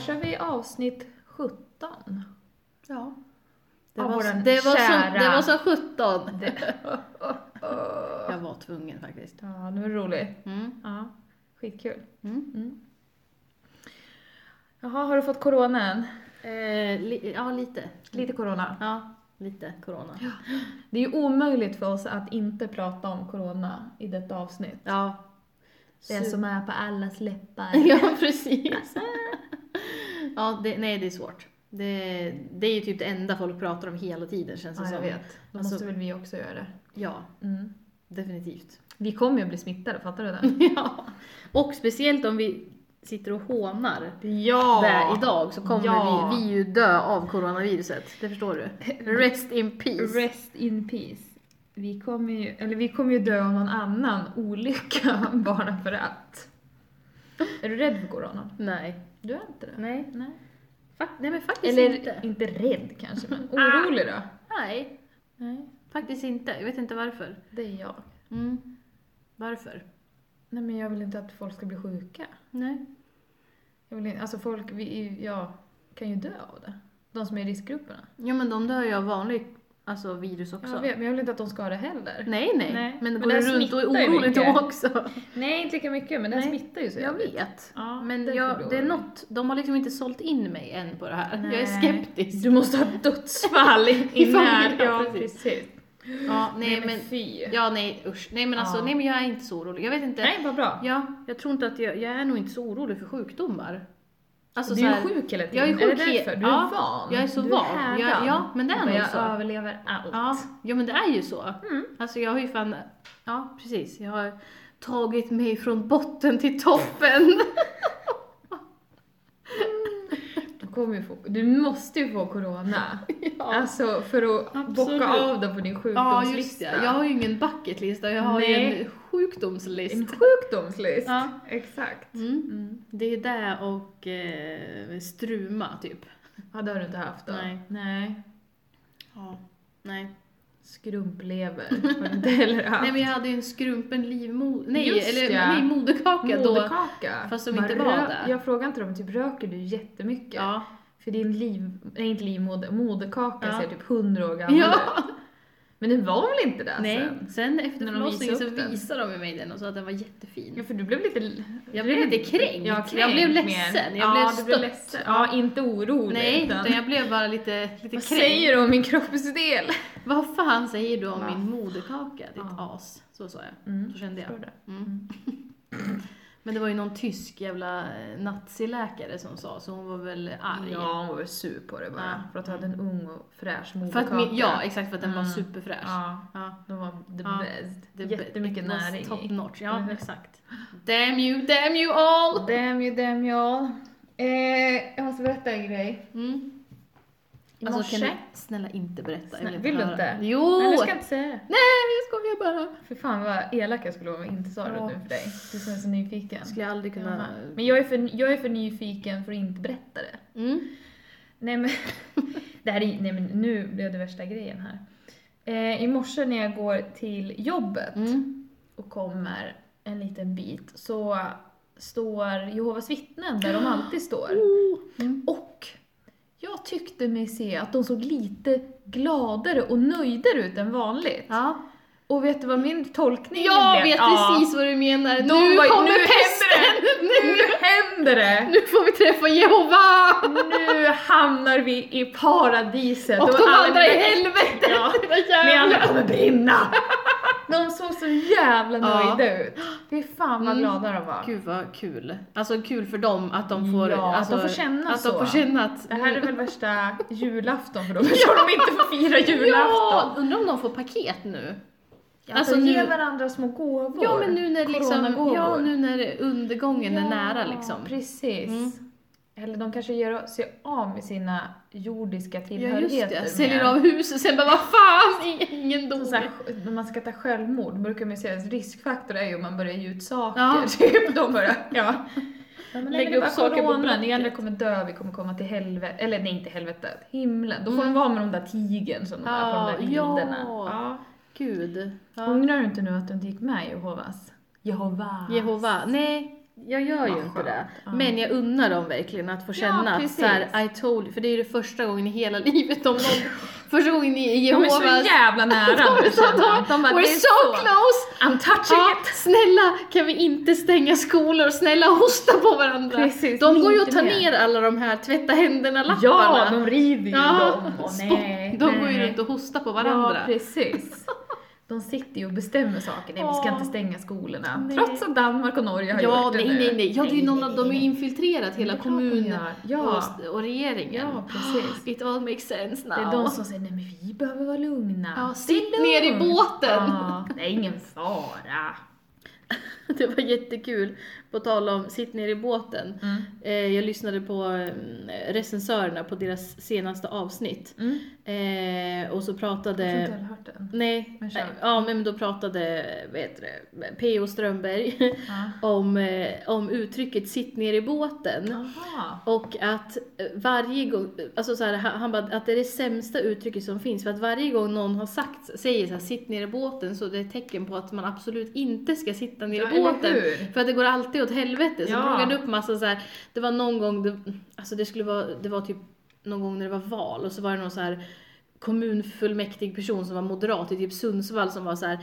kör vi avsnitt 17. Ja. Det Av var, våran det var, kära- så, det var så 17! Jag var tvungen faktiskt. Ja, det var roligt. Mm. Ja, skitkul. Mm. Jaha, har du fått corona än? Eh, li, ja, lite. Lite corona. Ja, lite corona. Det är ju omöjligt för oss att inte prata om corona i detta avsnitt. Ja. Det Su- som är på allas läppar. Ja, precis. ja, det, nej, det är svårt. Det, det är ju typ det enda folk pratar om hela tiden känns det Ja, jag som. vet. Då Alltså- måste väl vi också göra det. Ja, Mm. definitivt. Vi kommer ju bli smittade, fattar du det? ja. Och speciellt om vi sitter och hånar Ja! det idag så kommer Ja. vi, vi ju dö av coronaviruset. Det förstår du. Rest in peace. Rest in peace. Vi kommer ju, eller vi kommer ju dö av någon annan olycka bara för att. Är du rädd för corona? nej. Du är inte det? Nej. Nej. Fak- nej, men faktiskt Eller inte. inte. rädd kanske, men orolig då? Nej, Nej, faktiskt inte. Jag vet inte varför. det är jag. Mm. Varför? Nej men jag vill inte att folk ska bli sjuka. Nej. Jag vill inte, alltså folk, vi, jag kan ju dö av det. De som är i riskgrupperna. Ja, men de dör ju av vanlig alltså, virus också. Jag vet, men jag vill inte att de ska ha det heller. Nej, nej. Nej. Men, Men går det du runt och är smittar ju orolig då mycket. också? Nej, inte lika mycket, men den Nej. smittar ju så Jag jävligt. vet. Ja, Men därför blir jag, jag det är orolig. något, de har liksom inte sålt in mig än på det här. Nej. Jag är skeptisk. Du måste ha dödsfall i, i I familjen, när... Ja, precis. precis. Ja, nej, men, fy. ja, nej usch. Nej men alltså, Ja. nej men jag är inte så orolig. Jag vet inte. Nej, vad bra. Ja, jag tror inte att jag, jag är nog inte så orolig för sjukdomar. Alltså, du så är här- ju sjuk hela tiden. jag är sjuk det he- därför? Du ja, är van. jag är så du van. härdad. Jag- ja, men det är Du nog bara, så. Jag överlever allt. Ja, ja men det är ju så. Mm. Alltså jag har ju fan, ja precis, jag har tagit mig från botten till toppen. Du, kommer ju få, du måste ju få corona. Alltså för att Absolut. bocka av det på din ja just sjukdomslista. det, jag har ju ingen bucketlista, jag har ju Nej. en sjukdomslist. En sjukdomslist. Ja. Exakt. Mm. Mm. Det är det och eh, struma typ. Ja, det har du inte haft då. Nej. Nej. Ja. Nej. Skrumplever har du inte heller haft. nej men jag hade ju en skrumpen livmoder, nej, Just eller, ja. nej moderkaka, då. Moderkaka. fast som Man inte var rö- det. Jag frågar inte dem, typ röker du jättemycket? Ja. För din liv, nej inte livmoder, moderkaka Ja. ser typ hundra år gammal ut. ja. Men den var väl inte det Nej, sen? sen efter Alltså, När de visade förlossningen så upp den. visade de mig den och sa att den var jättefin. Ja, för du blev lite... l- Jag blev lite kränkt. Ja, jag kränkt blev mer. ledsen. Jag ja, blev du stött. blev ledsen. Ja, inte orolig. Nej, utan, utan jag blev bara lite, lite Vad kränkt. säger du om min kroppsdel? Vad fan säger du om Va? min moderkaka, ditt Ja. as? Så sa jag. Mm. Så kände jag. Förstår Mm. Men det var ju någon tysk jävla eh, naziläkare som sa, så hon var väl arg. Ja, hon var väl sur på det bara. Ja. För att du hade en ung och fräsch för moderkaka. att min, ja, exakt, för att den var Mm. superfräsch. ja, Ja. de var the Ja, best. Det- Jättemycket it was näring Top i. notch, ja Mhm. exakt. Damn you, damn you all! Damn you, damn you all. Eh, jag måste berätta en grej. Mm. I Alltså, morse... kan du snälla inte berätta? jag Snä- inte vill du höra. inte? Jo! Nej, nu ska Mm. jag inte säga det. Nej, jag skojar bara. För fan vad elak jag skulle vara om jag inte sa det Ja. nu för dig. Du som är så nyfiken. Jag skulle aldrig Jag kunna... med. Men jag är, för, jag är för nyfiken för att inte berätta det. Mm. Nej men, det här är, nej, men nu blev det värsta grejen här. Eh, I morse när jag går till jobbet Mm. och kommer en liten bit så står Jehovas vittnen där de alltid står. Mm. Och jag tyckte mig se att de såg lite gladare och nöjdare ut än vanligt. Ja. Och vet du vad min tolkning Jag blev? vet Ja. precis vad du menar. De nu var- kommer nu händer Mm. pesten! Nu händer det! Nu får vi träffa Jehova! Nu hamnar vi i paradiset Och de alla andra i mina- helvetet! Ja. Vad Ni andra jävla- kommer brinna! De såg så jävla Ja. nöjda ut. Fy fan vad Mm. glada de var. Gud vad kul. Alltså kul för dem att de får, Ja, att alltså, de får känna att så. De får känna att Det här är väl värsta julafton för dem eftersom de inte får fira julafton. Mm. Ja, undrar om de får paket nu? Ja, Alltså, alltså ge nu- varandra små gåvor. Ja men nu när liksom, Coronagåvor. ja, nu när undergången är Ja, nära liksom. Precis. Mm. Eller de kanske gör sig av med sina jordiska Ja tillhörigheter. just det, med- säljer av huset sen bara vad fan, ingen Så dog. såhär, när man ska ta självmord brukar man ju säga att riskfaktor är ju om man börjar ge ut saker. Ja. Typ, de börjar, ja. Men Lägger det är upp bara saker på corona, ni blocket. andra kommer dö, vi kommer komma till helvetet, eller nej inte helvetet, himlen. Då får de vara med de där tigern som de är på de där Ja, Mm. ja. bilderna. Gud. Ångrar du inte nu att du inte gick med i Jehovas? Jehova. Jehova, nej. jag gör ju Vad inte skönt. det. Ja. Men jag unnar dem verkligen att få Ja, känna att precis. så här, I told you, för det är ju det första gången i hela livet om någon, första gången i De är Jehovas... så jävla nära nu så känner de, jag. De bara, We're det är så so close! I'm touching Ja, it! snälla kan vi inte stänga skolor? Snälla hosta på varandra. Precis, de går ju och lite tar mer. ner alla de här tvätta händerna-lapparna. Ja, de river ju dem. Åh, spott. nej, de nej. går ju runt och hostar på Ja, varandra. precis. De sitter ju och bestämmer saker. Nej, vi ska Ja. inte stänga skolorna. Nej. Trots att Danmark och Norge har Ja, gjort det nej, nu. nej, nej. Ja, det är ju någon av dem är ju infiltrerat, Det är hela klart de kommunen gör. Ja, och, och regeringen. ja precis. It all makes sense now. Det är de som säger nej men vi behöver vara lugna. ja, Det är sitt ner i lugnt. båten! Ja, det är ingen fara. Det var jättekul, på tal om sitt ner i båten. Mm. Eh, Jag lyssnade på mm, recensörerna på deras senaste avsnitt. Mm. Eh, Och så Jag tror inte pratade... jag har hört den. Nej, Men kör. nej, ja men då pratade vad heter det, P.O. Strömberg Ja. om, eh, om uttrycket sitt ner i båten. Jaha. Och att eh, varje gång, alltså så här, han han bara att det är det sämsta uttrycket som finns för att varje gång någon har sagt, säger så här, sitt ner i båten så det är ett tecken på att man absolut inte ska sitta ner Ja, i eller båten. hur? För att det går alltid åt helvete. Så Ja. drog han upp massa så här, det var någon gång, det, alltså det skulle vara, det var typ någon gång när det var val och så var det någon så här kommunfullmäktig person som var moderat i typ Sundsvall som var så här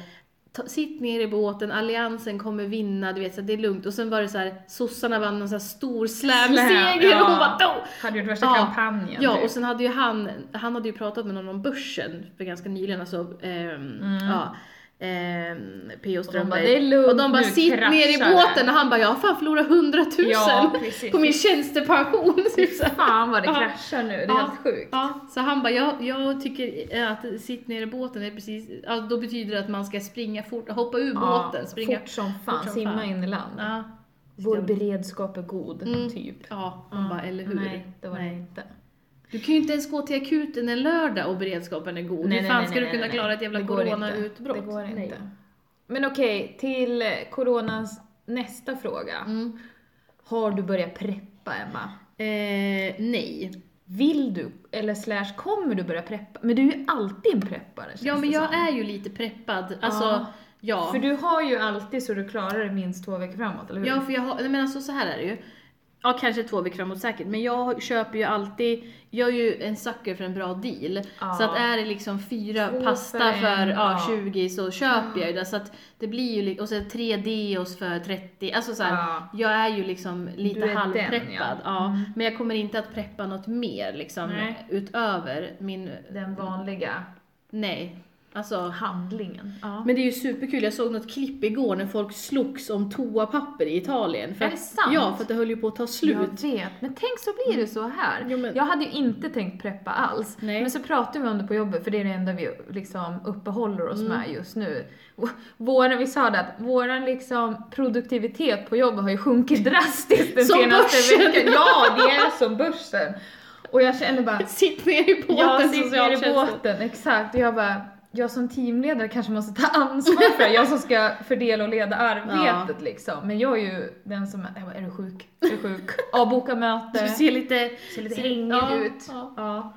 "Ta- Sitt ner i båten, alliansen kommer vinna, du vet så här, det är lugnt. Och sen var det så här, sossarna vann någon så här stor slamseger ja. och hon bara "Då!" Hade gjort värsta Ja. kampanjen. Ja, typ. och sen hade ju han, han hade ju pratat med någon om börsen för ganska nyligen, alltså, ehm, ja, ehm, P.O. Mm. Och de bara, Strömberg. "Det är lugnt och de bara, nu, sitt kraschar ner i det." båten och han bara, jag har fan förlorat hundratusen Ja, precis. på min tjänstepension. Typ så här. Fan vad det Ja. kraschar nu, det är Ja. helt sjukt. Ja, så han bara, jag, jag tycker att sitt ner i båten är precis, ja, då betyder det att man ska springa fort, hoppa ur båten, springa. Fort som fan, fort som simma fan. in i land. Ja, Vår beredskap är god, Mm. typ. ja, man bara, eller hur? Nej, det var Nej. det inte. Du kan ju inte ens gå till akuten en lördag och beredskapen är god. Hur fan ska du kunna klara ett jävla Det går inte. coronautbrott? Det går Nej. inte. Men okej, till coronans nästa fråga. Mm. Har du börjat preppa, Emma? Eh, nej. Vill du, eller slash kommer du börja preppa? Men du är ju alltid en preppare känns Ja men det jag som. är ju lite preppad. Alltså, Ja. ja. För du har ju alltid så du klarar det minst två veckor framåt, eller hur? Ja för jag har, nej, men alltså så här är det ju. Ja kanske två veckor framåt säkert, men jag köper ju alltid, jag är ju en sucker för en bra deal. Ja. Så att är det liksom fyra Två pasta för för, en, ja, ja. 20 så köper jag ju det. Så att det blir ju, li- och så är det tre deos för 30, alltså så här, Ja. Jag är ju liksom lite Du är den, halvpreppad, ja. Mm. ja. men jag kommer inte att preppa något mer liksom, Nej. utöver min, Den vanliga nej. Alltså, handlingen. Ja. men det är ju superkul, jag såg något klipp igår när folk slogs om toapapper i Italien. För Är det att- sant? Ja, för att det höll ju på att ta slut. Mm. Jag vet, men tänk så blir det så här. Jo, men- Jag hade ju inte tänkt preppa alls. Nej. Men så pratade vi om det på jobbet, för det är det enda vi liksom uppehåller oss Mm. med just nu. Våra, vi sa det att vår liksom produktivitet på jobbet har ju sjunkit drastiskt den Som senaste börsen. veckan. Ja, det är som börsen. Och jag känner bara, Sitt ner i båten jag sitter i socialtjänsten. båten, exakt. Och jag bara, jag som teamledare kanske måste ta ansvar för det. Jag som ska fördela och leda arbetet liksom. Men jag är ju den som, jag bara, är du sjuk? Är du sjuk? Avboka möte. Du ser lite, Ser lite hängig ja, ut. Ja. Ja.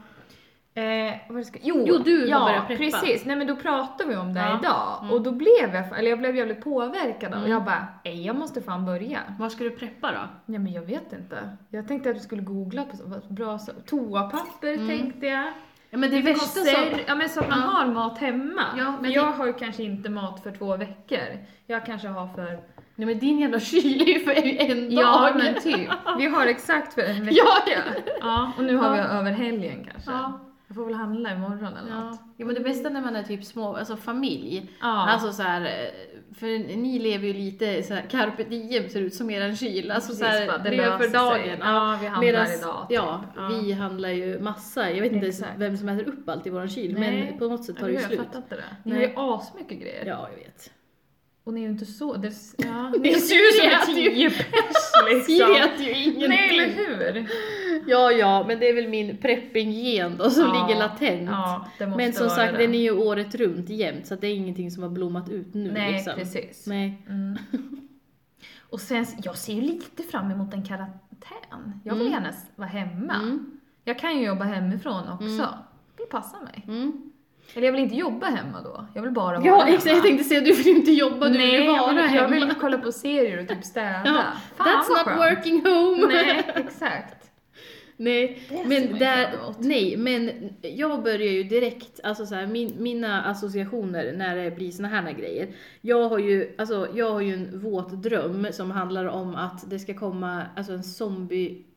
Eh, vad var det ska, jo, Jo, du har ja, börjat preppa. precis. Nej men då pratade vi om det Ja. idag Mm. och då blev jag, eller jag blev jävligt påverkad Mm. och jag bara, nej jag måste fan börja. Var ska du preppa då? Nej men jag vet inte. Jag tänkte att vi skulle googla på så, vad bra så, toapapper Mm. tänkte jag. Ja, men det värsta som... Konserv, ja men så att man Ja. har mat hemma. Ja, men jag det- har ju kanske inte mat för två veckor. Jag kanske har för... Nej men din jävla kyl är ju för en dag. Ja men typ. Vi har exakt för en vecka. Ja, ja. Ja, och nu har vi Ja. över helgen kanske. Ja. Jag får väl handla imorgon eller Ja. något. ja, men det bästa när man är typ små, alltså familj. Ja. Alltså så här, eh, för ni lever ju lite så här, carpe diem ser ut som eran kyl. Alltså så Precis, bara, här, det lever för löser dagen. sig. Ja, vi handlar Medans- idag, typ. Ja, Ja. vi handlar ju massa. Jag vet inte ens Exakt. vem som äter upp allt i våran kyl, men Nej. på något sätt tar det Eller ju hur? Jag slut. fattar inte det. Ni har ju asmycket grejer. Ja, jag vet. Och ni är ju inte så... Det, ja. Det Ni ser ut som ser en att du- tio pers Vi liksom. vet ju ingenting. Nej, eller hur? Ja, ja, men det är väl min prepping-gen då som Ja. ligger latent. Ja, det måste men som vara sagt, det. den är ju året runt jämt, så att det är ingenting som har blommat ut nu Nej, liksom. precis. Nej, Mm. Och sen, jag ser ju lite fram emot en karantän. Jag vill Mm. gärna s- vara hemma. Mm. Jag kan ju jobba hemifrån också. Det passar mig. Mm. Eller jag vill inte jobba hemma då. Jag vill bara vara Ja, hemma. exakt. Jag tänkte säga du vill ju inte jobba, du vill Nej, ju vara jag vill, jag hemma. vill kolla på serier och typ städa. Ja, Fan, That's vad not skönt. working home. Nej, exakt. Nej, Det ser man men ju där, fram emot. nej, men jag börjar ju direkt, alltså så här, min, mina associationer när det blir såna här grejer. Jag har ju, alltså jag har ju en våt dröm som handlar om att det ska komma, alltså en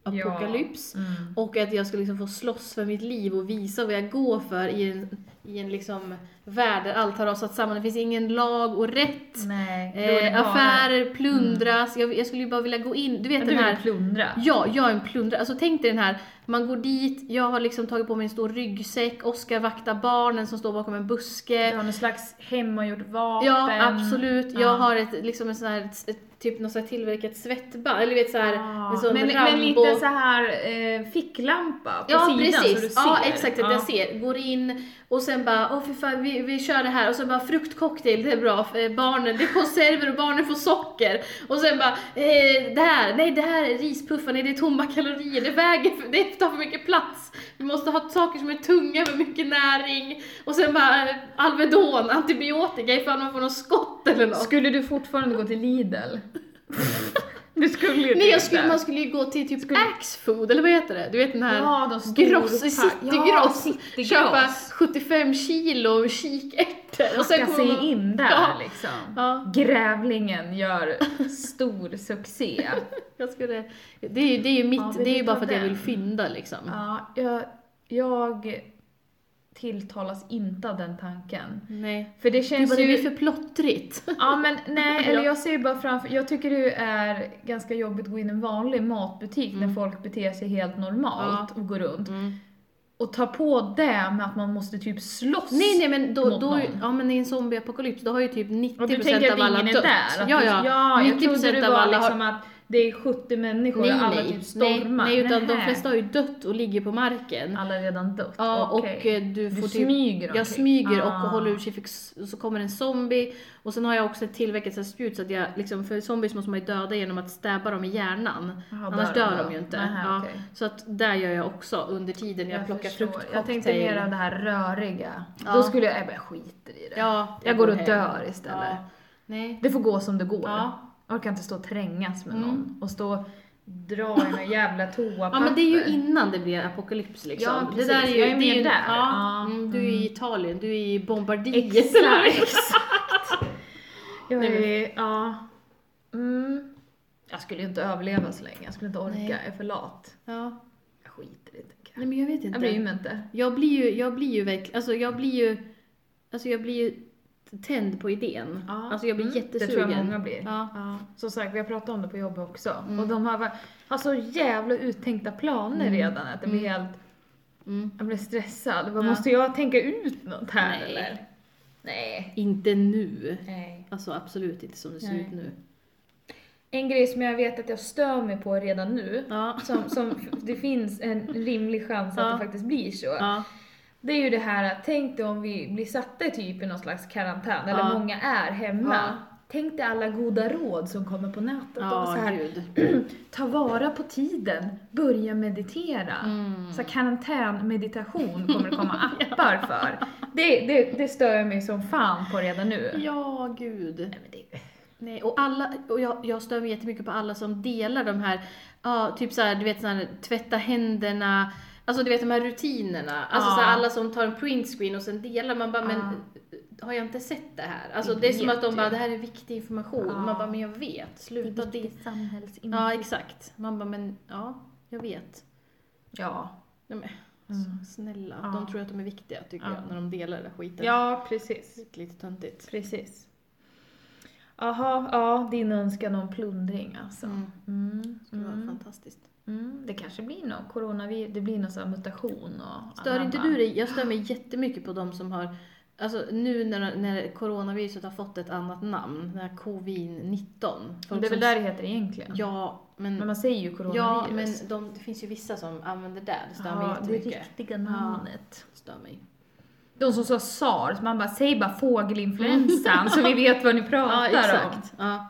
zombieapokalyps. Mm. Och att jag ska liksom få slåss för mitt liv och visa vad jag går för i en, i en liksom värld där allt har rasat samman. Det finns ingen lag och rätt. Nej, då är det Eh, bara- affärer plundras. Jag, jag skulle ju bara vilja gå in, du vet Men Mm. den du här vill plundra. Ja, jag är en plundrare. Alltså tänk dig den här, man går dit, jag har liksom tagit på mig en stor ryggsäck, Oskar vaktar barnen som står bakom en Du buske. har någon slags hemmagjord vapen. Ja, absolut. Jag Ja. har ett, liksom en sån här, ett, typ något så här tillverkat svettband, eller du vet såhär, Ja, en sån Ah. men, men Rambo- lite så här eh, ficklampa på Ja sidan precis, så du ser. Ah. ja exakt att Ja. jag ser. Går in och sen bara, åh fy fan vi, vi kör det här och sen bara fruktcocktail, det är bra för eh, barnen, det är konserver och barnen får socker. Och sen bara, eh, det här, nej det här är rispuffar, nej det är tomma kalorier, det väger, för, det tar för mycket plats. Vi måste ha saker som är tunga med mycket näring. Och sen bara eh, Alvedon, antibiotika ifall man får något skott eller något. Skulle du fortfarande gå till Lidl? du skulle ju Nej jag inte. skulle, man skulle ju gå till typ Axfood eller vad heter det? Du vet den här Ja, de stora gross, pack- citygross. Ja, citygross. Köpa 75 kilo kikärtor och sen Hacka sig kommer man... in där Ja. liksom. Ja, Grävlingen gör stor succé. jag skulle... Det är ju, det är ju mitt, Ja, vill det är ju du bara ta för att jag den? vill fynda liksom. Ja, jag, jag tilltalas inte av den tanken. Nej. För det Det känns bara, det ju... blir för plottrigt. Ja men nej, Ja. eller jag ser ju bara framför, jag tycker det är ganska jobbigt att gå in i en vanlig matbutik när Mm. folk beter sig helt normalt och går runt. Och ta på det med att man måste typ slåss. Nej nej men då, Mot då någon. ja men i en zombieapokalyps då har ju typ 90% och du tänker att av alla ingen är dött. där? Att ja du- ja, ja jag trodde 90% det av var alla har liksom att det är 70 människor Nej, och alla nej, typ stormar. nej, nej utan de Nähä. flesta har ju dött och ligger på marken. Alla är redan dött? Ja Okej. och eh, du Du får typ smyger Jag omkring. smyger och Ah. håller utkik, för s- så kommer en zombie. Och sen har jag också ett tillverkat så här spjut så att jag, liksom, för zombies måste man ju döda genom att stäba dem i hjärnan. Jaha, Annars där dör då. de ju inte. Nähä, ja, okej. Så att där gör jag också under tiden jag, plockar förstår. fruktcocktail. Jag tänkte mer av det här röriga. Ja. Då skulle jag, jag bara skiter i det. Ja, jag går och hem. dör istället. Ja. Nej. Det får gå som det går. Ja. Jag orkar inte stå och trängas med någon och stå och dra i några jävla toapapper. Mm. Ja men det är ju innan det blir apokalyps liksom. Ja, det precis. där är ju, Jag är det mer ju, där. Ja. Ja, mm, du är i Italien, du är i Bombardiet. Exakt! exakt. Jag, Nej, men- är, ja. mm. jag skulle ju inte överleva så länge, jag skulle inte orka, Nej. jag är för lat. Ja. Jag skiter i det. tänker jag. Nej men jag vet inte. Jag bryr mig inte. Jag blir ju, jag blir ju verkligen, alltså jag blir ju, alltså jag blir ju tänd på idén. Ja. Alltså jag blir Mm, jättesugen. Det tror jag många blir. Ja. Som sagt, vi har pratat om det på jobbet också. Mm. Och de har, va- har så jävla uttänkta planer redan att det blir helt... Mm. Jag blir stressad. Vad Ja. Måste jag tänka ut något här Nej. eller? Nej. Inte nu. Nej. Alltså absolut inte som det ser Nej. ut nu. En grej som jag vet att jag stör mig på redan nu, Ja. som, som det finns en rimlig chans att Ja. det faktiskt blir så, Ja. det är ju det här att tänk dig om vi blir satta typ i någon slags karantän, eller Ja. många är hemma. Ja. Tänk dig alla goda råd som kommer på nätet. och så Ja, här, gud. Ta vara på tiden, börja meditera. Mm. Så här karantänmeditation kommer det komma appar för. Det, det, det stör jag mig som fan på redan nu. Ja, gud. Nej, men det, Nej, och alla, och jag, jag stör mig jättemycket på alla som delar de här, ja, typ såhär, du vet såhär, tvätta händerna, alltså du vet de här rutinerna. Alltså Ja. så här, alla som tar en printscreen och sen delar, man bara, men har jag inte sett det här? Alltså det är som vet att de ju. bara, det här är viktig information. Ja. Man bara, men jag vet, sluta det. samhällsinnehåll. Ja, exakt. Man bara, men ja, jag vet. Ja. Nej, men, Mm. så snälla, Ja. de tror att de är viktiga tycker Ja. jag, när de delar den här skiten. ja, precis. Lite töntigt. Precis. Jaha, ja, din önskan om plundring alltså. Mm. Mm, Det skulle vara mm, fantastiskt. mm. Det kanske blir någon coronavirus, det blir någon sån här mutation och Stör inte anamma. du dig? Jag stör mig jättemycket på de som har Alltså nu när, när coronaviruset har fått ett annat namn, den här covid-19. Folk Det är väl som- där det heter egentligen? Ja, men, Men man säger ju ja, men coronavirus. de, det finns ju vissa som använder det. Det stör mig Ja, det jättemycket. riktiga namnet. Stör mig. De som sa sars, man bara säg bara fågelinfluensan så vi vet vad ni pratar Ja, om. exakt. Ja.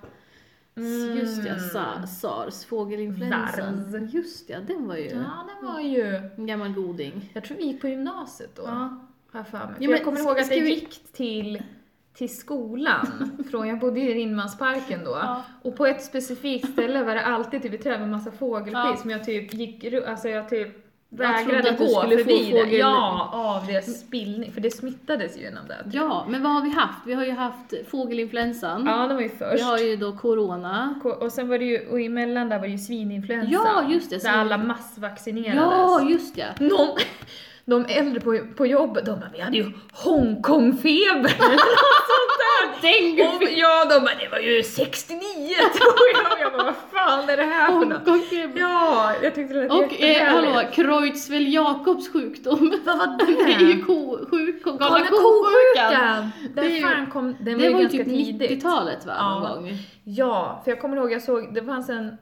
Mm. Just ja, sa, sars, fågelinfluensan. Sars. Just ja, den var ju Ja, det var ju... en gammal goding. Jag tror vi gick på gymnasiet då. Ja. Har jag för mig. För Ja, men jag kommer ska- ihåg att ska jag vi- gick till, till skolan. från, jag bodde i Ringmansparken då. Ja. Och på ett specifikt ställe var det alltid typ ett träd med massa Ja. fågelskit som jag typ gick ru- alltså jag typ trodde vägrade att du gå skulle få förbi det. fågel- Ja, av det spillning. För det smittades ju genom det. Ja, men vad har vi haft? Vi har ju haft fågelinfluensan. Ja, det var ju vi först. har ju då corona. Ko- Och sen var det ju, och emellan där var det ju svininfluensan. Ja, just det, Där svin- alla massvaccinerades. Ja, just det. Någon, de äldre på, på jobbet, de bara vi hade ju Hongkongfeber. Den Och ja, de bara det var ju 69 tror jag. Och jag bara vad fan är det här för något? Hongkongfeber. Ja, jag tyckte det lät Och eh, jättehärligt. hallå, Kreutzfeldt Jakobs sjukdom. Vad var Det är ju det? ko, sjuk, galna Kolla ko-sjukan. kosjukan! Det är Den ju- fan kom, den var Det ju var ju ganska typ tidigt. 90-talet va? Ja. Någon gång. Ja, för jag kommer ihåg, jag såg, det fanns en,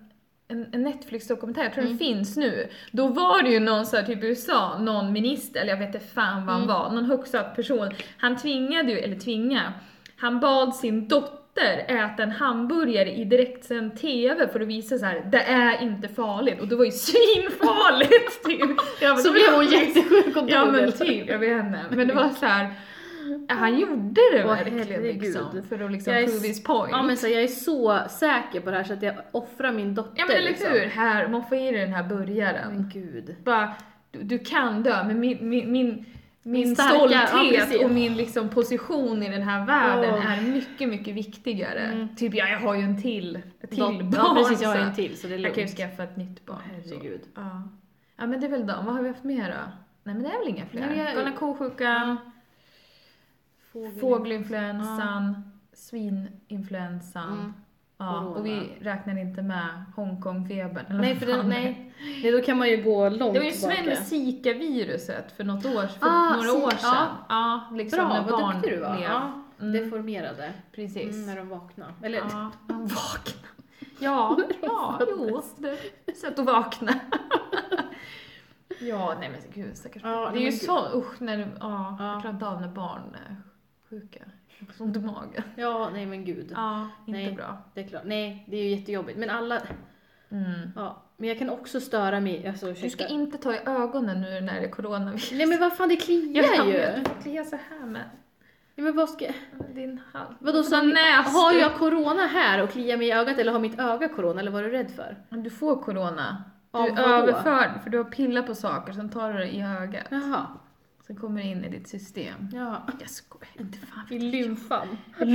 en, en Netflix-dokumentär, jag tror Mm. den finns nu. Då var det ju någon så här, typ i USA, någon minister, eller jag vet inte fan vad han Mm. var, någon högsatt person. Han tvingade ju, eller tvinga, han bad sin dotter äta en hamburgare i direktsänd TV för att visa så här: det är inte farligt. Och det var ju svinfarligt! typ. Jag bara, Så blev hon jättesjuk och Ja dog, men eller? typ, jag vet inte. Men det var så här. Han gjorde det Åh, verkligen herregud. liksom, för att liksom Jag är prove s- his point. Ja men så jag är så säker på det här så att jag offrar min dotter Ja men eller liksom. Mm. hur? Här, man får i dig den här burgaren. Men gud. Bara, du, du kan dö, men min, min, min, min starka- ja, stolthet precis. och min liksom, position i den här världen Åh. är mycket, mycket viktigare. Mm. Typ, ja, jag har ju en till, ett till Dot- barn. Ja precis, jag har så en till så det är Jag lugnt. kan ju skaffa ett nytt barn. Herregud. Så. Ja. ja men det är väl dem. Vad har vi haft mer då? Nej men det är väl inga fler? Nej, men jag- Galna kosjukan, fågelinfluensan, svininfluensan. Mm. Ja, och vi räknar inte med Hongkongfebern. eller Nej vad för fan den, det är. nej. nej då kan man ju gå långt Det var ju som tillbaka. med Zika-viruset för, något år, för Ah, några Zika, år sedan. ja. Ja, liksom Bra, när vad barn duktig du var. blev- Ja, Mm. Deformerade. Precis. Mm, när de vaknade. Eller Ja, de vakna. Ja, ja, jo. Det är sätt att vakna. ja, nej men gud stackars Ja, barn. Det nej, är ju men gud. så, usch, när, du- ja, Ja. jag klarar inte av när barn är sjuka. Jag får ont i magen. Ja, nej men gud. Ja, inte Nej. bra. Det är klart. Nej, det är ju jättejobbigt. Men alla, Mm. ja. Men jag kan också störa mig, alltså Du ska ursäkta. inte ta i ögonen nu när det är coronavirus. Nej men vad fan, det kliar Jag ju. vet, det kliar så här med Nej men vad ska, med din hals. vadå så Vad näs har du- jag corona här och kliar mig i ögat eller har mitt öga corona eller vad är du rädd för? Men Du får corona. Du Av vadå? överför för du har pillat på saker, sen tar du det i ögat. Jaha, Sen kommer det in i ditt system. ja. Jag skojar, inte fan I lymfan. I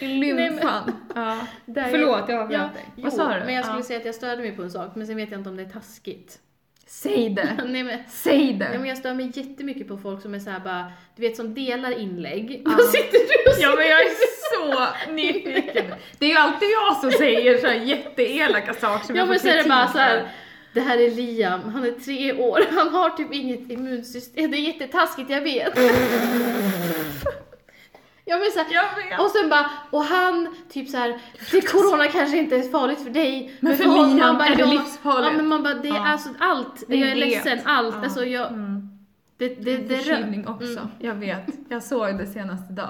men- lymfan. Ja. Där Förlåt, jag jag, ja, avbröt dig. jo, Vad sa du? Men jag skulle Ja. säga att jag störde mig på en sak, men sen vet jag inte om det är taskigt. Säg det! Nej men, Säg nej, men det! jag stör mig jättemycket på folk som är såhär bara, du vet som delar inlägg. Ja. Vad sitter du och Ja men jag är så nyfiken. Det är ju alltid jag som säger så här jätteelaka saker som Ja jag får men så är det kritik bara för. så här. Det här är Liam, han är tre år, han har typ inget immunsystem. Det är jättetaskigt, jag vet. ja men så här, Jag vet. och sen bara, och han typ så här, det corona kanske inte är farligt för dig. Men för Liam man bara, är det ja, livsfarligt. Ja men man bara, det är Ja. alltså allt, Det jag är vet. ledsen, allt. Ja. Alltså jag, Mm. det, det, det, Förkylning också, Mm. jag vet. Jag såg det senaste dag.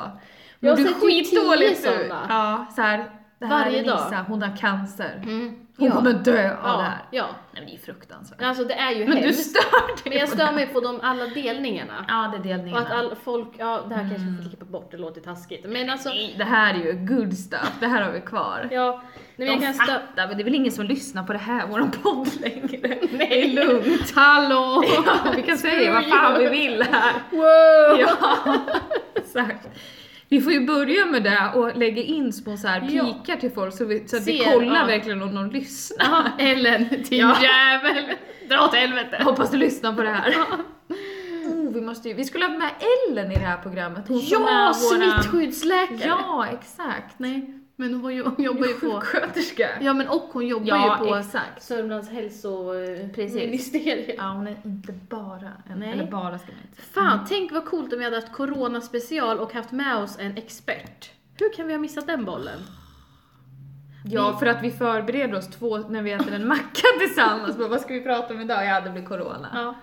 Men Jag har du är sett ju skitdålig tio nu. såna. Ja, så här, det här Varje är dag. Lisa, hon har cancer. Mm. Hon Ja. kommer dö av det ja, här. ja, Nej, men det är fruktansvärt. alltså det är ju men du hemskt. stör dig men jag på stör det. mig på de alla delningarna. Ja, det är Och delningarna. att all folk, ja det här kanske vi Mm. får klippa bort, det låter taskigt. Men alltså, Nej, Det här är ju good stuff, det här har vi kvar. ja. Nej, men jag De kan stö- fattar, men det är väl ingen som lyssnar på det här, våran podd längre. Det är Nej. lugnt. Hallå! Ja, vi kan säga vad fan vi vill här. Wow! Ja, exakt. Vi får ju börja med det och lägga in små så här Ja. pikar till folk så, vi, så att vi Ser, kollar ja. verkligen om någon lyssnar. Jaha, Ellen, din Ja. jävel! Dra åt helvete! Hoppas du lyssnar på det här. Oh, vi, måste ju, vi skulle haft med Ellen i det här programmet. Hon som Ja, är våran- smittskyddsläkare! Ja, exakt. Nej, men hon, var ju, hon jobbar ju på... Sjuksköterska. Ja men och hon jobbar Ja, ju på exakt. Sörmlands Precis. hälsoministerium. Ja, hon är inte bara en, Nej. eller bara ska man inte säga. Fan, tänk vad coolt om vi hade haft coronaspecial och haft med oss en expert. Hur kan vi ha missat den bollen? Ja, för att vi förbereder oss två när vi äter en macka tillsammans. Bara, vad ska vi prata om idag? Ja, det blir corona. Ja.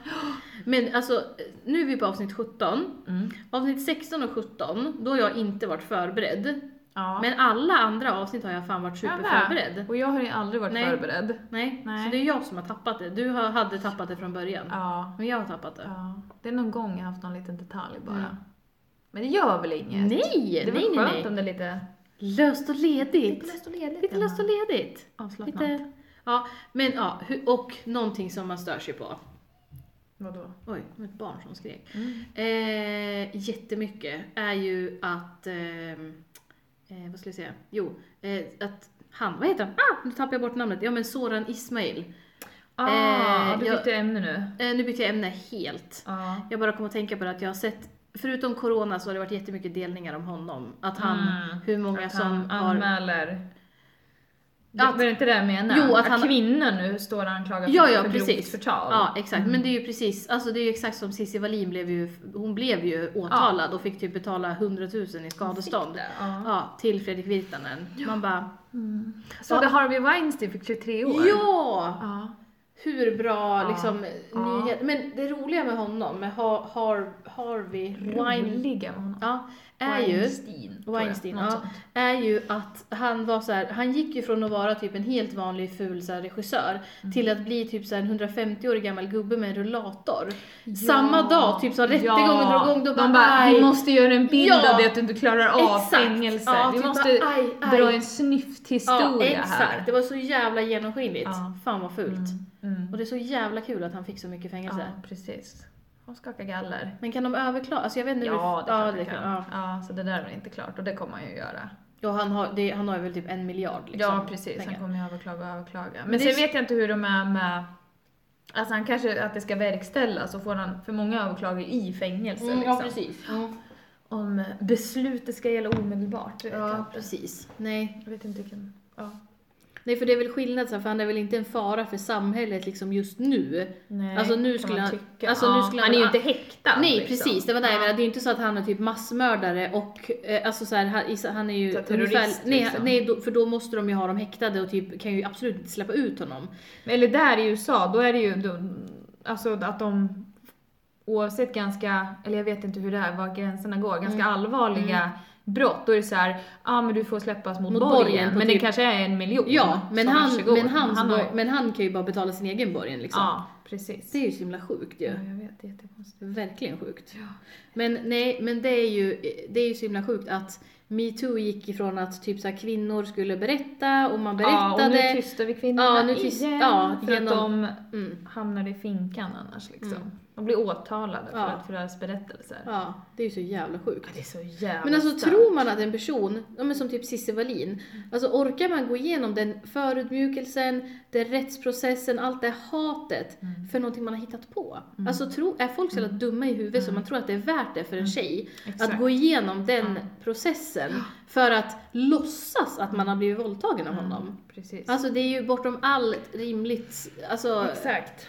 Men alltså, nu är vi på avsnitt 17. Mm. Avsnitt 16 och 17, då har jag inte varit förberedd. Ja. Men alla andra avsnitt har jag fan varit Jag med. superförberedd. Och jag har ju aldrig varit Nej. förberedd. Nej. Nej. så det är jag som har tappat det. Du har- hade tappat det från början. Ja. Men jag har tappat det. ja. Det är någon gång jag har haft någon liten detalj bara. Mm. Men det gör väl inget? Nej, det är väl nej, skönt nej, nej. om det är lite... Löst och ledigt. löst och ledigt. Lite löst och ledigt. Avslappnat. Lite, ja, men ja, hu- och någonting som man stör sig på. Vadå? Oj, det var ett barn som skrek. Mm. Eh, jättemycket är ju att, ehm, eh, vad skulle jag säga? Jo, eh, att han, vad heter han? Ah, nu tappar jag bort namnet. Ja men Soran Ismail. Ah, Eh, du jag- bytte ämne nu. Eh, nu byter jag ämne helt. Ja. Jag bara kom att tänka på det att jag har sett, förutom corona så har det varit jättemycket delningar om honom. Att han, Mm. hur många Att som han har anmäler... Att- Att, var det inte det jag menade? Jo, att han- kvinnor nu står anklagade för, Ja, ja, för grovt precis. förtal. Mm. Ja, exakt. Men det är ju precis, alltså det är ju exakt som Cissi Wallin blev ju, hon blev ju åtalad och fick typ betala 100 000 i skadestånd. Ja. Ja, till Fredrik Virtanen. Man bara, Mm. Så det Harvey Weinstein fick 23 år? ja! Ja. Hur bra Ja. liksom Ja. nyhet. Men det roliga med honom, med har, har, Harvey Wine, Roliga med honom. ja, är ju, Weinstein. tror jag. Weinstein, Något ja, sånt. är ju att han var så här, han gick ju från att vara typ en helt vanlig ful så här, regissör Mm. till att bli typ så här, en 150-årig gammal gubbe med en rullator. Samma dag, typ som rättegången drog igång, då de bara, bara vi "Aj." måste göra en bild Ja. av det att du inte klarar av Exakt. fängelse. Ja, vi typ måste bara, "Aj, aj." dra en snyfthistoria ja, exakt. här. Det var så jävla genomskinligt. Ja. Fan vad fult. Mm. Mm. Och det är så jävla kul att han fick så mycket fängelse. Ja, precis. Och skaka galler. Men kan de överklaga? Alltså jag vet inte hur- Ja, det är klart det kan- kan. ja. Ja. så det där är inte klart och det kommer han ju göra. Ja, han har, det, han har ju väl typ en miljard liksom. ja, precis. Han pengar. kommer ju överklaga och överklaga. Men, Men det sen är- vet jag inte hur de är med... Alltså han kanske, att det ska verkställas och får han för många överklagar i fängelse Mm, ja, liksom. precis. Mm. Om beslutet ska gälla omedelbart, det vet jag Ja, inte. precis. Alltså, Nej. Jag vet inte vilken... Ja. Nej, för det är väl skillnad så här, för han är väl inte en fara för samhället liksom just nu. Nej, Alltså, nu kan skulle man han- tycka. alltså, ja. nu skulle han han- är ju inte häktad. Nej, liksom. precis. Det var det jag Ja. menade. Det är ju inte så att han är typ massmördare och eh, alltså så här, han, is- han är ju Så terrorist, nej, liksom. nej, då, för då måste de ju ha dem häktade och typ kan ju absolut inte släppa ut honom. Eller där i USA, då är det ju de, alltså att de oavsett ganska, eller jag vet inte hur det är, var gränserna går, Mm. ganska allvarliga brott, då är det så här, ja ah, men du får släppas mot, Mot borgen borgen, på men typ- det kanske är en miljon. Ja, men Så han, varsågod. men, han, har- men han kan ju bara betala sin egen borgen liksom. Ja, precis. Det är ju så himla sjukt ju. Ja, jag vet, det är jättekonstigt. Verkligen sjukt. Men nej, men det är ju, det är ju så himla sjukt att metoo gick ifrån att typ så här, kvinnor skulle berätta och man Ja, och nu berättade. tystar vi kvinnorna Ja, nu tyst- igen, ja, för genom- att Ja, mm, de hamnar i finkan annars liksom. De blir åtalade för, Ja. att, för deras berättelser. ja, det är ju så jävla sjukt. Ja, Det är så jävla Men alltså stört. tror man att en person, ja, men som typ Cissi Wallin, alltså orkar man gå igenom den förödmjukelsen, den rättsprocessen, allt det hatet Mm. för någonting man har hittat på? Alltså tro, är folk så jävla dumma i huvudet så man tror att det är värt det för en tjej Mm. Exakt. att gå igenom den processen för att låtsas att man har blivit våldtagen av honom? Precis. Alltså det är ju bortom allt rimligt, alltså... Exakt.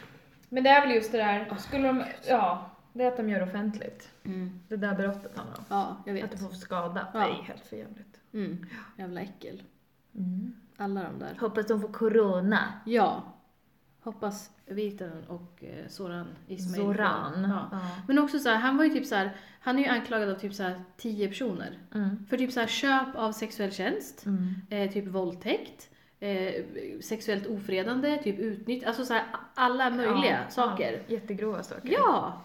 Men det är väl just det där, skulle de, ja, det är att de gör offentligt. Mm. Det där brottet handlar om. Ja, jag Att vet. du får skada, Ja. det är helt förjävligt. Mm. Jävla äckel. Mm. Alla de där. Hoppas de får corona. Ja. Hoppas Virtanen och eh, Soran Ismail. Zoran. Ja. Men också så här, han var ju typ så här, han är ju anklagad av typ så här 10 personer. Mm. För typ så här köp av sexuell tjänst, Mm. eh, typ våldtäkt, eh, sexuellt ofredande, typ utnyttjande, alltså så här alla möjliga Ja, saker. Ja, jättegrova saker. Ja!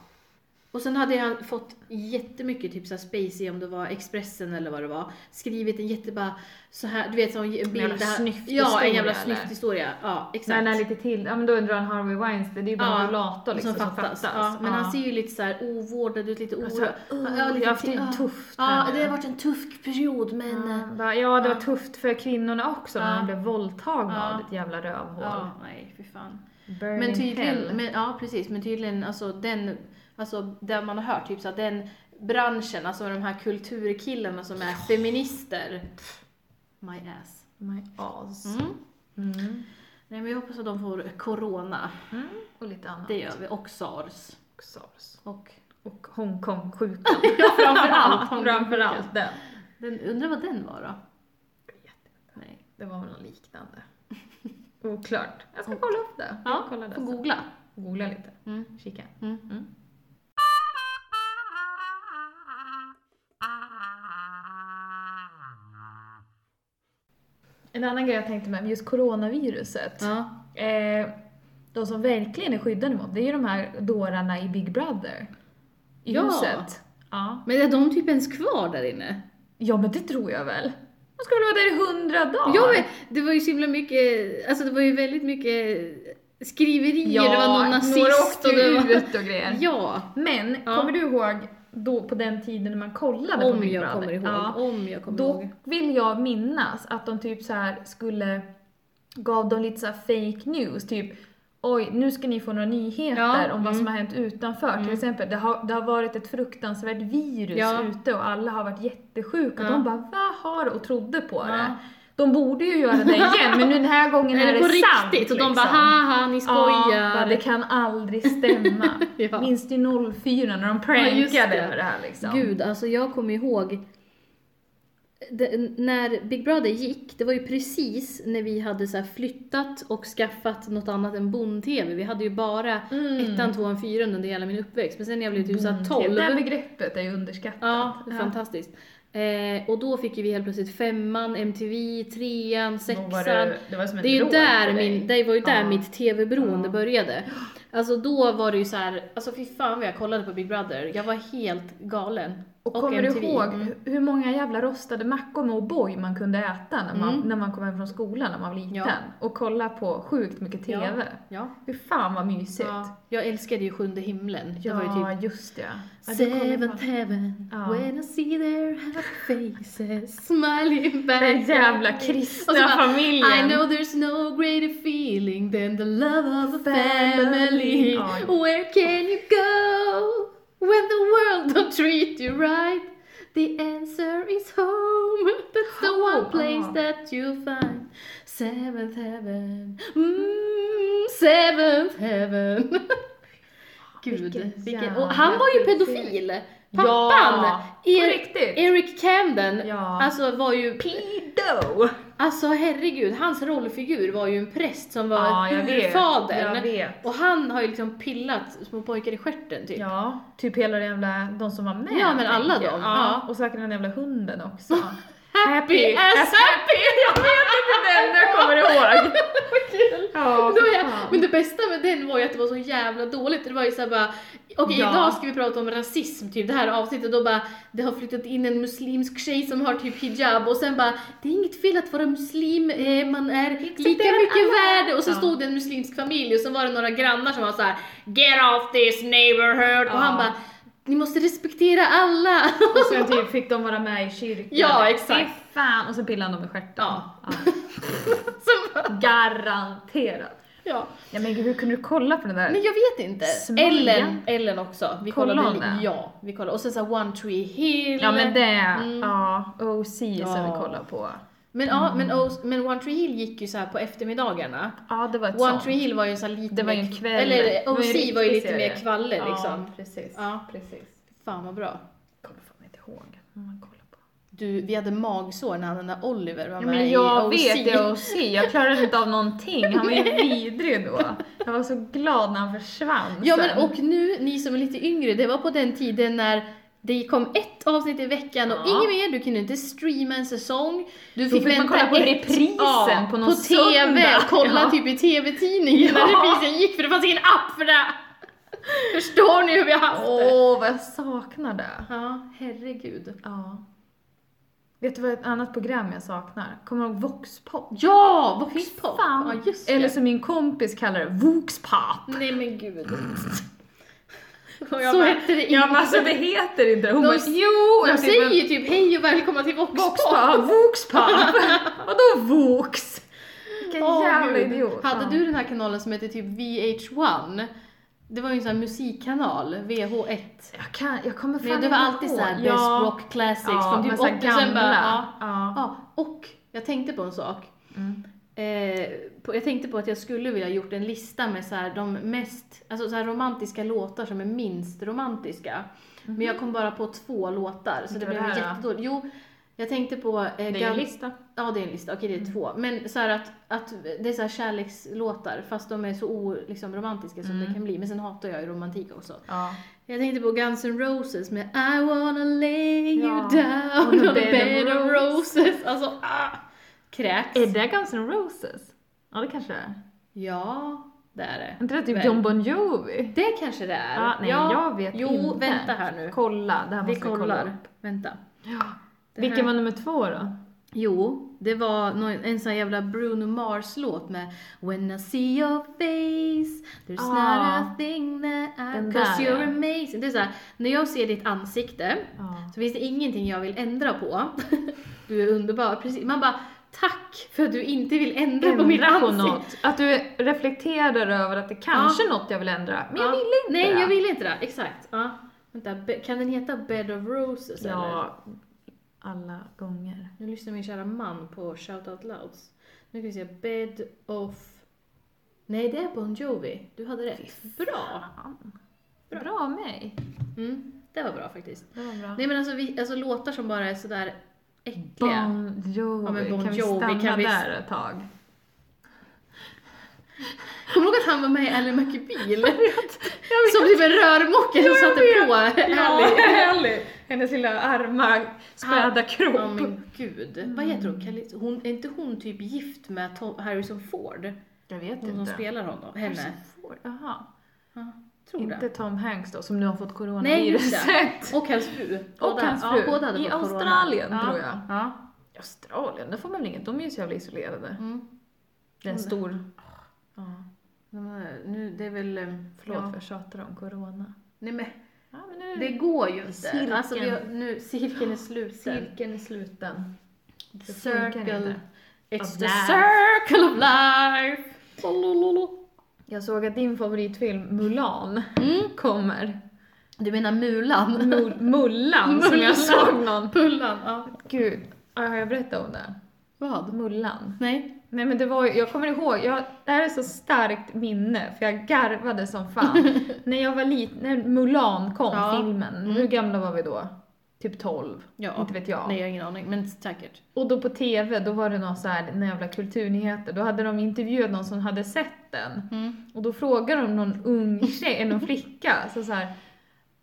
Och sen hade han fått jättemycket typ såhär spacey, om det var Expressen eller vad det var, skrivit en jättebara så här, du vet som en bild jävla där han- snyfthistoria, Ja, en jävla eller? snyfthistoria. Ja, exakt. När han är lite till, ja men då undrar han Harvey Weinstein, det är ju bara en rullator liksom som fattas. Ja, men Ja. han ser ju lite så här ovårdad ut, lite Alltså, orolig. "Oh, jag har haft det ja. tufft Ja, här nu." det har varit en tuff period men... eh, Ja, Mm. bara, ja, det var tufft för kvinnorna också när Ja. de blev våldtagna Ja. av ditt jävla rövhål. Ja, nej fy fan. Burn Men in hell. tydligen, men, ja precis, men tydligen alltså den, alltså där man har hört typ så att den branschen, alltså de här kulturkillarna som är feminister. My ass. My ass. Mm. Mm. Nej men jag hoppas att de får corona. Mm. Och lite annat. Det gör vi. Och sars. Och SARS. Och Och Hongkong-sjukan. ja, framförallt. Framförallt den. Den, undrar vad den var då? vet Nej. Det var väl något liknande. Oklart. Jag ska kolla upp det. Jag Ja, kollar det får sen. googla. Googla lite. Mm. Kika. Mm. Mm. Ah En annan grej jag tänkte med, just coronaviruset. Ja. Eh, de som verkligen är skyddade mot, det är ju de här dårarna i Big Brother. I Ja. huset. Ja. Men är de typ ens kvar där inne? Ja, men det tror jag väl. De ska väl vara där i hundra dagar? Ja, men det var ju så himla mycket, alltså det var ju väldigt mycket skriverier, det var någon nazist några åkte och det ju var... ut och grejer. Ja, Men, Ja. kommer du ihåg då på den tiden när man kollade på om Big jag Brother? kommer ihåg. Ja. Om jag kommer Då ihåg. vill jag minnas att de typ så här skulle gav dem lite så här fake news, typ Oj, nu ska ni få några nyheter Ja, om vad som mm. har hänt utanför. Till Mm. exempel, det har, det har varit ett fruktansvärt virus Ja. ute och alla har varit jättesjuka. Ja. De bara, vad har det?" och trodde på Ja. det. De borde ju göra det igen, men nu den här gången är, Är det på det sant. riktigt? Och de bara liksom. haha, ni Ja, bara, skojar. det kan aldrig stämma. Ja. Minns du 04 när de Ja, just prankade det. över det här liksom? Gud, alltså jag kommer ihåg det, när Big Brother gick, det var ju precis när vi hade så här flyttat och skaffat något annat än Bond-TV. Vi hade ju bara Mm. ettan, tvåan, fyran under hela min uppväxt. Men sen när jag blev typ såhär Bond-TV. 12. Mm. Det här begreppet är ju underskattat. Ja, fantastiskt. Eh, och då fick ju vi helt plötsligt femman, MTV, trean, Då sexan. Var det, det var som ett Det är ju rån där för dig. min, det var ju där Ja. mitt tv-beroende Ja. började. Alltså då var det ju så här, alltså fy fan vad jag kollade på Big Brother. Jag var helt galen. Och, kommer du MTV. ihåg Mm. hur många jävla rostade mackor med O'boy man kunde äta när man, Mm. när man kom hem från skolan när man var liten? Ja. Och kolla på sjukt mycket TV. Ja. Hur fan vad mysigt. ja. Jag älskade ju Sjunde himlen. Det Ja, var ju typ just det. Ja, det kommer jag Seventh heaven, Ja. when I see their happy faces, smiling back. Den jävla at me. kristna Och så bara, familjen. I know there's no greater feeling than the love of a Family. family. Oj. Where can you go when the world don't treat you right? The answer is home. That's the Oh, one place ah. that you'll find. Seventh heaven. Mm, seventh heaven. Gud, Vilken vilken, jävla och han var ju pedofil. pedofil. Pappan, Ja, på er, riktigt. Eric Camden, Ja. alltså var ju Pido! Alltså herregud, hans rollfigur var ju en präst som var Ja, jag vet. fadern. Jag vet. Och han har ju liksom pillat små pojkar i stjärten typ. Ja, typ hela den jävla, de som var med. Ja, men tänker alla jag. dem, Ja. ja. Och säkert den jävla hunden också. Happy as happy! Jag vet inte den jag kommer ihåg. Vad kul! Ja, Det var fy jag, fan. men det bästa med den var ju att det var så jävla dåligt. Det var ju såhär bara, okej Ja. idag ska vi prata om rasism typ det här avsnittet. Då bara, det har flyttat in en muslimsk tjej som har typ hijab och sen bara, det är inget fel att vara muslim, eh, man är lika det är mycket alla. värd. Och så Ja. stod det en muslimsk familj och så var det några grannar som var så här: get off this neighborhood. Ja. Och han bara, ni måste respektera alla. Och sen typ fick de vara med i kyrkan. Ja, exakt. Fy fan! Och sen pillade han dem i stjärten. Ja. Som- Garanterat. ja. Ja, men gud, hur kunde du kolla på den där? Men jag vet inte. Smörja. Ellen, Ellen också. Vi Kollade kollade, hon det? ja, vi kollade. Och sen så här One Tree Hill. Ja men det, Mm. ja, OC som vi Ja. kollar på. Men, ja, men, O- men One Tree Hill gick ju så här på eftermiddagarna. Ja det var ett One sånt. Tree Hill var ju så här lite Det var ju mer- en kväll. Det Eller var ju en OC riktig var ju lite serie. mer kvalle liksom. precis. Ja. precis. Fan vad bra. Kommer fan inte ihåg vad man kollar på. Du, vi hade magsår när han den där Oliver var Ja, med men jag i OC. vet det och se. Jag klarade inte av någonting. Han var ju vidrig då. Jag var så glad när han försvann Ja sen. men och nu, ni som är lite yngre, det var på den tiden när det kom ett avsnitt i veckan och Ja. inget mer, du kunde inte streama en säsong. Du Då fick man kolla på reprisen ja, på någon på TV, söndag. kolla Ja. typ i TV-tidningen när Ja. reprisen gick för det fanns ingen app för det! Förstår ni hur vi har haft det? Åh vad jag saknar det. Ja, herregud. Ja. Vet du vad ett annat program jag saknar? Kommer du ihåg Voxpop? Ja, Voxpop! Fan. Ja, just det. Eller som min kompis kallar det, Voxpop. Nej men gud. Och Så hette det Jag inte. bara, alltså det heter inte det. Hon De- bara, jo! De Jag typ, säger men- ju typ hej och välkomna till Voxpop! Voxpop, Voxpop! Vadå Vox? Vilken Åh, jävla gud. idiot. Ja. Hade du den här kanalen som hette typ VH1? Det var ju en sån här musikkanal, VH1. Jag, kan, jag kommer fan Men det var alltid ihåg. såhär best Ja. rock classics ja, från men typ så 80 här sen gamla. bara, ja. ja. ja. Och jag tänkte på en sak. Mm. Eh, på, jag tänkte på att jag skulle vilja gjort en lista med så här, de mest alltså så här, romantiska låtar som är minst romantiska. Men jag kom bara på två låtar så det Vilka blev var Mhm. det här jättedåligt. Jo, jag tänkte på... Eh, Det är gam- en lista. Ja, det är en lista. Okej, Mm. det är två. Men så här att, att det är så här kärlekslåtar fast de är så o, liksom, romantiska som Mm. det kan bli. Men sen hatar jag ju romantik också. Ja. Jag tänkte på Guns N' Roses med I wanna lay you Ja. down on a bed of roses. Alltså, ah, kräks. Är det Guns N' Roses? Ja, det kanske det är. Ja, det är det. Är inte det typ Väl. John Bon Jovi? Det kanske det är. Ja, Ah, nej, Ja. jag vet jo, inte. vänta här nu. Kolla, det här Vi måste vi kolla upp. kollar. Vänta. Ja. Det Vilken här- var nummer två då? Jo, det var nå- en sån jävla Bruno Mars-låt med When I see your face There's Ah. not a thing that Den I... Cause där, you're ja. amazing. Det är såhär, när jag ser ditt ansikte Ja. så finns det ingenting jag vill ändra på. Du är underbar. Precis. Man bara, tack för att du inte vill ändra, på mitt Ändra på ansikte. något. Att du reflekterar över att det kanske är något jag vill ändra, men jag Ja. vill inte Nej, det. jag vill inte det. Exakt. Ja. Vänta, be- kan den heta Bed of Roses typ, eller? Ja, alla gånger. Nu lyssnar min kära man på Shout Out Louds. Nu ska vi se, Bed of... Nej, det är Bon Jovi. Du hade rätt. Bra! Bra, bra av mig. Mm, det var bra faktiskt. Det var bra. Nej men alltså, vi, alltså låtar som bara är sådär äckliga. Bon Jovi. Ja, men Bon kan vi Jovi, stanna kan vi- där ett tag? Kommer du ihåg att han var med i Ally McBeal? som typ en rörmokare som satte på Ally. härligt! Hennes lilla arma, späda kropp. Ja men gud. Vad heter hon? Kalli- hon? Är inte hon typ gift med Tom, Harrison Ford? jag vet Hon som inte. spelar honom, henne. Jaha. Ja, tror det. Inte Tom Hanks då, som nu har fått Nej, just coronaviruset. Och hans fru. Och Båda- hans fru. Ja, båda hade I fått corona. Australien, ja. tror jag. Ja. Australien, det får man väl inget, de är ju så jävla isolerade. Mm. Det är en Mm. stor... ja. De här- Nu, det är väl... eh, Förlåt för Ja. jag tjatar om corona. Nej men Ja, men nu... det går ju inte. Cirkeln. Alltså vi har, nu, cirkeln är sluten. Cirkeln är sluten. The Det funkar circle. inte. It's Of the life. circle of life. Jag såg att din favoritfilm Mulan Mm. kommer. Du menar Mulan? Mul- Mullan som Mullan. jag såg någon. Pullan, ja. Gud, ja, har jag berättat om det? Vad? Mullan. Nej. Nej men det var ju, jag kommer ihåg, jag, det här är så starkt minne för jag garvade som fan. när jag var liten, när Mulan kom, Ja. filmen, Mm. hur gamla var vi då? Typ 12, Ja. inte vet jag. Nej, jag har ingen aning, men säkert. Och då på TV, då var det någon så här, någon jävla kulturnyheter, då hade de intervjuat någon som hade sett den. Mm. Och då frågade de någon ung tjej, eller någon flicka, så så här.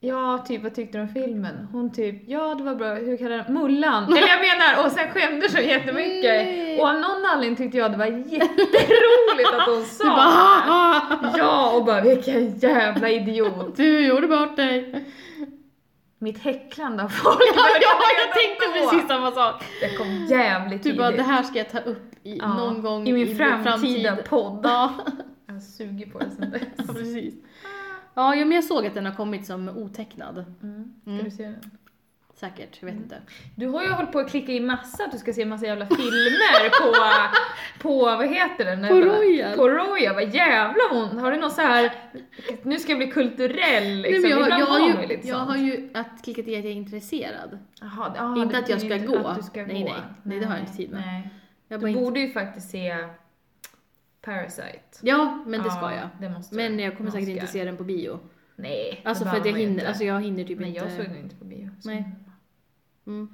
Ja, typ vad tyckte du om filmen? Hon typ, ja det var bra, hur kallar den Mullan? Eller jag menar, och sen skämdes hon jättemycket. Nej. Och av någon anledning tyckte jag det var jätteroligt att hon Du sa bara, det. "Ah, ah, Ja, och bara vilken jävla ah, idiot. du gjorde bort dig. Mitt häcklande av folk började redan då. samma sak. Det kom jävligt Du bara, det tidigt. här ska jag ta upp i, Ja, någon gång I min framtida framtid. podd. Ja, Jag suger på det sen dess. precis. Ja, ja, men jag såg att den har kommit som otecknad. Mm. Ska Mm. du se den? Säkert, jag vet inte. Du har ju hållit på att klicka i massa, att du ska se massa jävla filmer på, på vad heter den? På Royal. På Royal, vad jävla hon, har du någon så här nu ska jag bli kulturell liksom? Nej, men jag, Ibland liksom. jag, har har man ju, lite jag sånt. har ju att klickat i att jag är intresserad. Jaha, ja, inte det att jag betyder ska inte gå. att du ska Nej, gå. nej. Nej, det har jag inte tid med. Nej. Jag bara Du inte... borde ju faktiskt se Parasite. Ja, men det ska Ja, jag. Det måste Men du. jag kommer säkert Måste inte göra. se den på bio. Nej, det Alltså för att behöver jag man ju hinner, inte. alltså jag hinner typ Men inte. jag såg den inte på bio. så- Nej. Mm.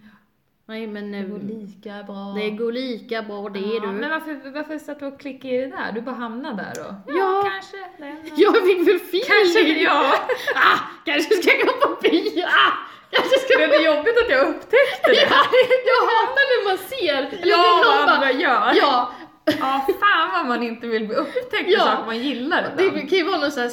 Nej men Det går eh, lika bra. det går lika bra det Ja, du. Men varför, varför satt du och klickade i det där? Du bara hamnade där då? Ja. kanske. Den. Jag fick för feeling! Kanske jag. Ah, kanske ska jag gå på bio! Ah, kanske ska Det jag... är jobbigt att jag upptäckte det. jag hatar när man ser! Eller Ja, ja, vad någon bara, andra gör. ja, Ja, fan vad man inte vill bli upptäckt Ja. ja. saker man gillar det ibland. kan ju vara någon sån här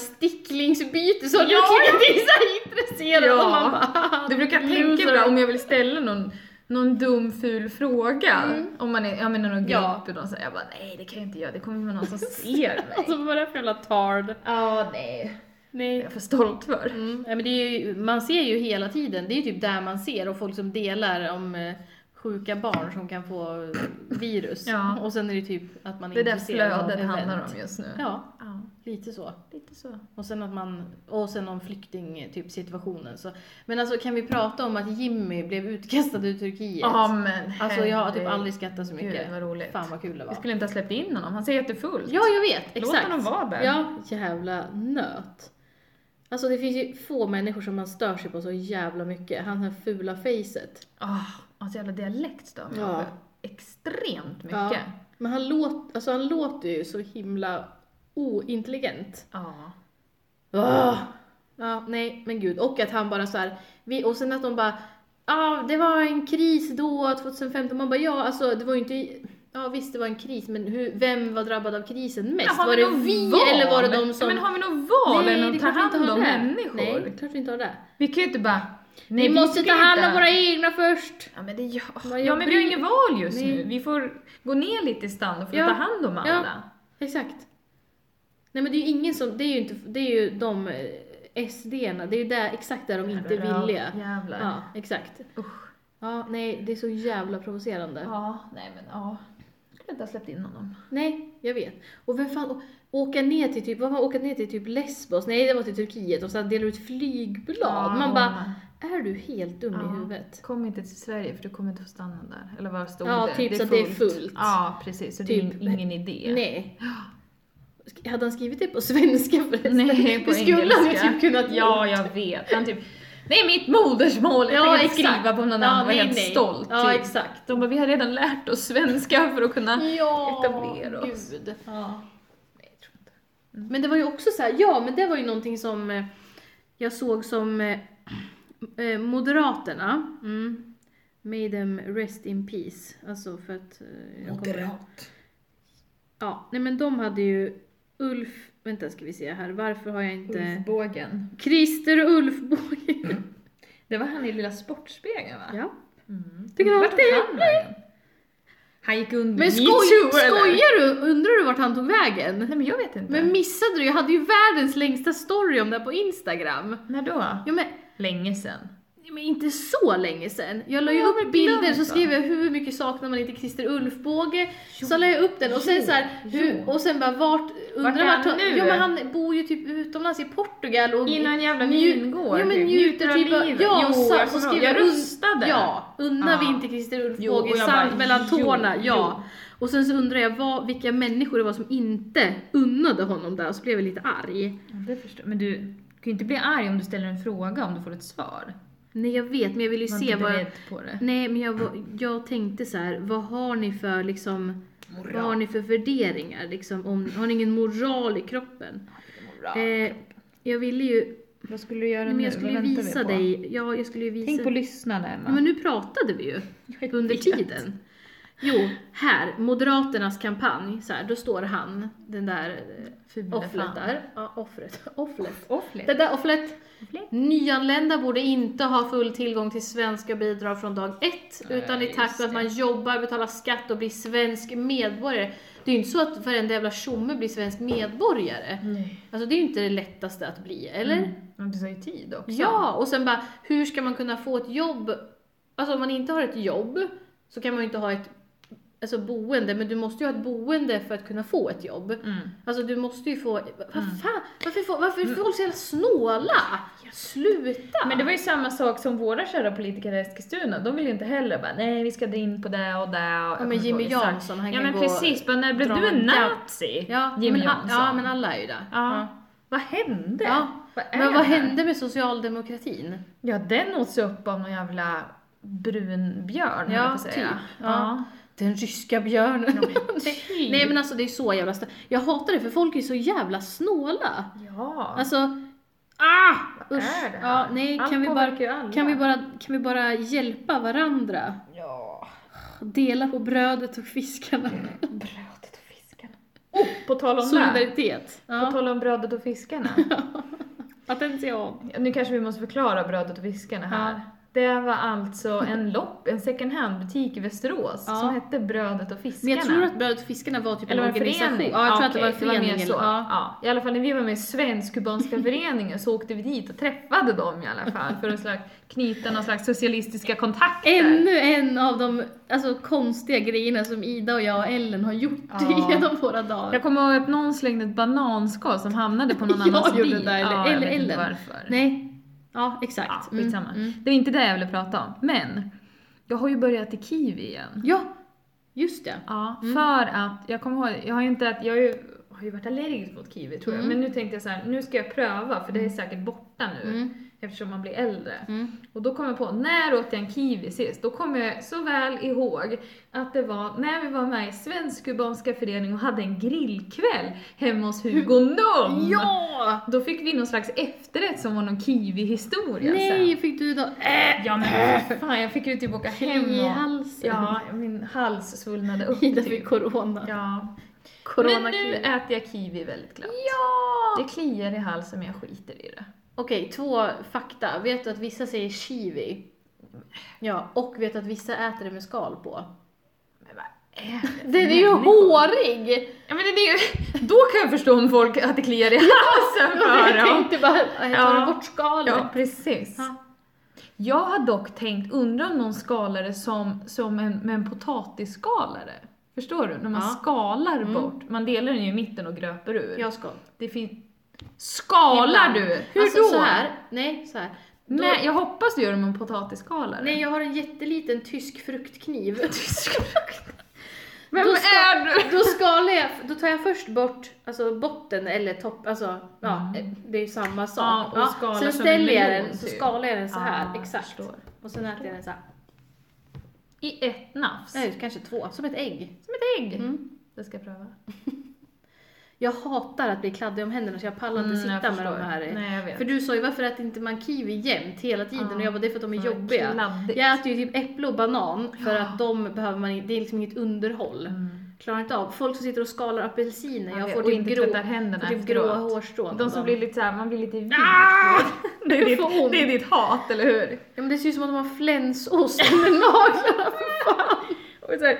sticklingsbyte så har Ja, du klickat in såhär intresserad Ja. och man bara Du brukar tänka loser. ibland om jag vill ställa någon, någon dum ful fråga. Om man är, jag menar någon grupp Mm. Ja. och de säger jag bara nej det kan jag inte göra, det kommer vara någon som ser mig. Alltså vad var det för jävla tard? Ja, nej. Det är Nej. jag för stolt för. Mm. Ja, men det är ju, man ser ju hela tiden, det är ju typ där man ser och folk som delar om eh, sjuka barn som kan få eh, virus. Ja. Och sen är det typ att man är Det där intresserad av flödet event. handlar om just nu. Ja, Ja, lite så. lite så. Och sen att man, och sen om flykting eh, typ situationen så. Men alltså kan vi prata om att Jimmy blev utkastad ur Turkiet? Ja men Alltså jag har typ herregud. aldrig skrattat så mycket. Gud vad roligt. Fan vad kul det var. Vi skulle inte ha släppt in honom, han ser jättefull Ja, jag vet. Låt Exakt. honom vara där. Ja, jävla nöt. Alltså det finns ju få människor som man stör sig på så jävla mycket. Han har fula facet. Ah, hans jävla dialekt stör mig Ja. extremt mycket. Ja. Ja. Men han, låt, alltså han låter ju så himla ointelligent. Ah. Ja, nej men gud. Och att han bara så här, vi, och sen att de bara, ja ah, det var en kris då 2015. Man bara ja, alltså det var ju inte, Ja visst, det var en kris, men hur, vem var drabbad av krisen mest? har var vi det något vi val? eller var det de som... Men har vi något val än det att är ta klart vi inte hand har om det. människor? Nej, det är klart vi inte har det. Vi kan ju inte bara... vi, Nej, måste ska ta hand om inte- våra egna först! Ja men det gör... Vad Ja jag men vi har bryr- inget val just Nej. nu. Vi får gå ner lite i standard för att Ja. ta hand om alla. Exakt. Nej men det är ju ingen som, det är ju inte, det är ju de SD-erna, det är ju där, exakt där de inte är villiga. Jävlar. Ja, exakt. Usch. Ja, nej, det är så jävla provocerande. Ja, nej men ja. Jag skulle inte ha släppt in honom. Nej, jag vet. Och vem fan, å- åka ner till typ, vad var åka ner till typ Lesbos? Nej, det var till Turkiet och sen delar ut flygblad. Man bara, är du helt dum Ja. i huvudet? Kom inte till Sverige för du kommer inte få stanna där. Eller vad stod Ja, det? typ så att det är fullt. Ja, precis. Så det är Typ. in- ingen idé. Nej. Sk- Hade han skrivit det på svenska förresten? Nej, på det skulle han ju engelska. typ kunnat Ja, jag vet. Han typ, det är mitt modersmål! Jag Ja, tänker inte exakt. skriva på någon Ja, annan och vara nej, helt nej. stolt. Ja, typ. exakt. De bara, vi har redan lärt oss svenska för att kunna... Ja, etablera oss. gud. Ja. Nej, jag tror inte. Men det var ju också så här, ja men det var ju någonting som eh, jag såg som eh, eh, Moderaterna, mm, May them rest in peace. Alltså för att... eh, jag kommer- Ja, nej men de hade ju Ulf, vänta ska vi se här, varför har jag inte... Ulfbågen. Christer och Ulf Borg. Det var han i Lilla Sportspegeln va? ja. Mm. Tycker han Vart alltid- tog han vägen? Han gick under Men skoj, skojar du? Undrar du vart han tog vägen? Nej men jag vet inte. Men missade du? Jag hade ju världens längsta story om det här på Instagram. När då? Ja men Länge sen. Men inte så länge sedan. Jag la ju Ja, men upp bilder glömt så då. skrev jag hur mycket saknar man inte Christer Ulfbåge. Jo. Så la jag upp den och sen Jo, så här, hur, jo. och sen bara vart, undrar är han vart, han- nu? Jo men han bor ju typ utomlands i Portugal och I någon jävla nju- vingård, Ja men typ. njuter Njuter av typ av livet. Ja, Jo, och så, jag så kommer skrev ihåg. Jag un- röstade. Ja, unnar Ja. vi inte Christer Jo, och Ulfbåge jag sand bara, mellan jo, tårna. jo. Ja. Och sen så undrar jag vad, vilka människor det var som inte unnade honom där och så blev jag lite arg. Det förstår Men du kan ju inte bli arg om du ställer en fråga om du får ett svar. Nej jag vet men jag vill ju Var se inte vad jag... beredd på det. Nej, men jag, var- jag tänkte så här, vad har ni för liksom, vad har ni för värderingar liksom? Om, har ni ingen moral i kroppen? Eh, jag ville ju, Vad skulle du göra nej, nu? men jag skulle ju Vad väntar vi visa på? dig, ja jag skulle ju visa. Tänk på lyssnarna Emma. ja, men nu pratade vi ju Jag under vet. tiden. Jo, här, Moderaternas kampanj, så här, då står han, den där eh, Fula offret fan. där. Ja, offret. offret. Offlet. Det där offret. Offlet. Nyanlända borde inte ha full tillgång till svenska bidrag från dag ett, Nej, utan i takt med att just det. man jobbar, betalar skatt och blir svensk medborgare. Det är ju inte så att varenda jävla tjomme blir svensk medborgare. Nej. Alltså det är ju inte det lättaste att bli, eller? Mm. Men det tar ju tid också. Ja, och sen bara, hur ska man kunna få ett jobb? Alltså om man inte har ett jobb så kan man ju inte ha ett alltså, boende, men du måste ju ha ett boende för att kunna få ett jobb. Mm. Alltså du måste ju få, vad fan, varför, får- varför är folk så jävla snåla? Sluta! Men det var ju samma sak som våra kära politiker i Eskilstuna. De vill ju inte heller bara, nej vi ska dra in på det och det. Och jag ja, kommer men inte Jimmy ihåg exakt. Jansson, han Ja kan men gå... precis, bara när blev dra du en en gaff. nazi? Ja, Jimmy men, a- Jansson. ja, men alla är ju där. Ja. Vad hände? Ja. Vad är Men vad det här? hände med socialdemokratin? Ja den åts ju upp av någon jävla brun björn höll Ja, jag på att säga. typ. Den ryska björnen. typ. Nej men alltså det är så jävla stö- Jag hatar det för folk är så jävla snåla. Ja. Alltså, ah! Vad är det här? Ja, nej, Allt kan vi, bara, påverkar ju alla. kan, vi bara, kan vi bara hjälpa varandra? Ja. Dela på brödet och fiskarna. Brödet och fiskarna. Oh, på tal om det. Solidaritet. På Ja. tal om brödet och fiskarna. Attention. Ja, Nu kanske vi måste förklara brödet och fiskarna här. Ja. Det var alltså en lopp, en second hand-butik i Västerås Ja. som hette Brödet och fiskarna. Men jag tror att brödet och fiskarna var typ Eller var en det en organisation. förening? Ah, Ja, jag tror att det var en okej, mer förening. så. eller- ja. Ja. I alla fall när vi var med i Svensk-Kubanska föreningen så åkte vi dit och träffade dem i alla fall för att slags, knyta någon slags socialistiska kontakter. Ännu en av de alltså, konstiga grejerna som Ida och jag och Ellen har gjort Ja. genom våra dagar. Jag kommer ihåg att någon slängde ett bananskal som hamnade på någon Jag annans gjorde bil. det där, eller- ja, jag eller vet inte Ellen. varför. Nej. Ja, exakt. Ja, Mm, skitsamma. mm. Det var inte det jag ville prata om. Men, jag har ju börjat i Kiwi igen. Ja, just det. Ja, för att jag kommer ihåg, jag har ju inte ätit, jag har ju, har ju varit allergisk mot kiwi tror jag, Mm. men nu tänkte jag så här, nu ska jag pröva för det är säkert borta nu. Mm. eftersom man blir äldre. Mm. Och då kom jag på, när åt jag en kiwi sist? Då kommer jag så väl ihåg att det var när vi var med i Svensk-Kubanska föreningen och hade en grillkväll hemma hos Hugo Nunn. Ja! Då fick vi någon slags efterrätt som var någon kiwi-historia Nej, fick du då... Äh! sen. Ja men för fan, jag fick ju typ åka hem I och... halsen. Ja, min hals svullnade upp Ida fick typ. corona. Ja. corona Men nu äter jag kiwi väldigt glatt. Ja! Det kliar i halsen men jag skiter i det. Okej, två fakta. Vet du att vissa säger kiwi? Ja, och vet du att vissa äter det med skal på? Men vad är det för Den är ju människor? hårig! Ja men det är ju, då kan jag förstå om folk att det kliar i halsen för Jag dem. tänkte bara, jag tar Ja. bort skalet. Ja precis. Ja. Jag har dock tänkt, undrar om någon skalare som, som en, med en potatisskalare. Förstår du? När man Ja. skalar Mm. bort, man delar den ju i mitten och gröper ur. Jag skal. Det fin- Skalar Ibland. du? Hur alltså, då? Så här, nej, så här. Då, Nej, jag hoppas du gör det med en potatisskalare. nej, jag har en jätteliten tysk fruktkniv. Vem Då ska- är du? då skalar jag, då tar jag först bort alltså botten eller topp, alltså ja, Mm. det är ju samma sak. Ja, och skalar Sen som ställer en jag melon, den, så typ. skalar jag den så här, Ah, exakt. förstår. Och sen äter jag den så här, I ett nafs? nej kanske två, som ett ägg. Som ett ägg? Mm. Det ska jag pröva. Jag hatar att bli kladdig om händerna så jag pallar inte Mm, jag sitta med de förstår. här. Nej, jag vet. För du sa ju varför äter inte man kiwi jämt hela tiden? Ja. Och jag bara, det är för att de är Ja, jobbiga. kladdigt. Jag äter ju typ äpple och banan för att de behöver man in- det är liksom inget underhåll. Klarar inte av. Folk som sitter och skalar apelsiner, Ja, jag Mm. och får typ inte grå, tvättar händerna får typ efteråt. gråa hårstrån. av De som dem. blir lite såhär, man blir lite vit. Ah! Det, är Du får ditt, ont. det är ditt hat, eller hur? Ja, men det ser ut som att de har flänsost under naglarna, för fan. Och så här,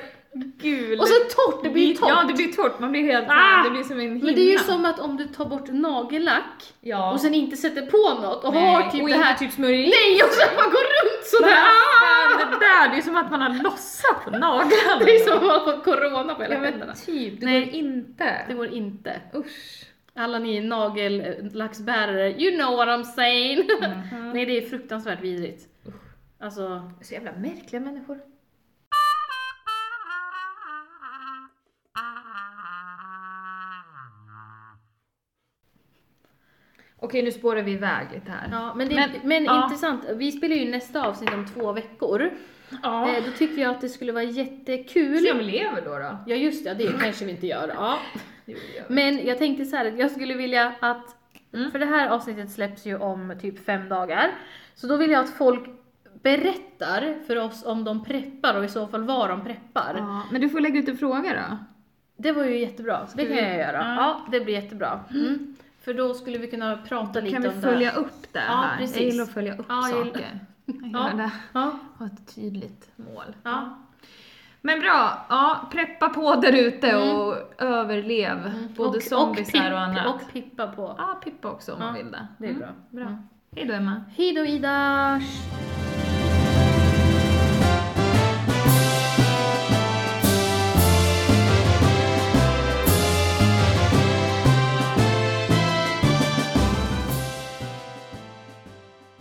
gul. Och så torrt, det blir ju torrt. Ja, det blir torrt. Man blir helt Ah! det blir som en hinna. men det är ju som att om du tar bort nagellack Ja. och sen inte sätter på något och Nej, har typ och det här. inte typ smörjer in. Nej, ah! och sen man går runt Vad sådär. fan, Det där, det är ju som att man har lossat på naglarna. Det är som att man får corona på hela ja, händerna. men typ, det Nej. går inte. Det går inte. Usch. Alla ni nagellacksbärare, you know what I'm saying! Mhm. Nej, det är fruktansvärt vidrigt. Alltså, Så jävla märkliga människor. Okej, nu spårar vi iväg lite här. ja, men det är, men, Men- ja. intressant. Vi spelar ju nästa avsnitt om två veckor. Ja. Eh, då tycker jag att det skulle vara Se om jättekul. vi lever då då. Ja just det, ja, det kanske vi inte gör. Ja. Jo, det gör vi. Men jag tänkte så här att jag skulle vilja att, Mm. för det här avsnittet släpps ju om typ fem dagar, så då vill jag att folk berättar för oss om de preppar och i så fall var de preppar. Ja, men du får lägga ut en fråga då. Det var ju jättebra, så det kan vi- jag göra. Ja. Ja, det blir jättebra. Mm. För då skulle vi kunna prata lite Kan om vi det följa här. upp det Ja, här? precis. Jag gillar att följa upp Ja, jag gillar- saker. Jag Ja. gillar det. Ja. Ha ett tydligt mål. Ja. Men bra, ja, preppa på där ute Mm. och överlev både Och- zombies här Mm. och pipp- annat. Och pippa på. Ja, Ah, pippa också om Ja, man vill det. Det är Mm. bra. bra. Mm. Hej då Emma. Hej då Ida!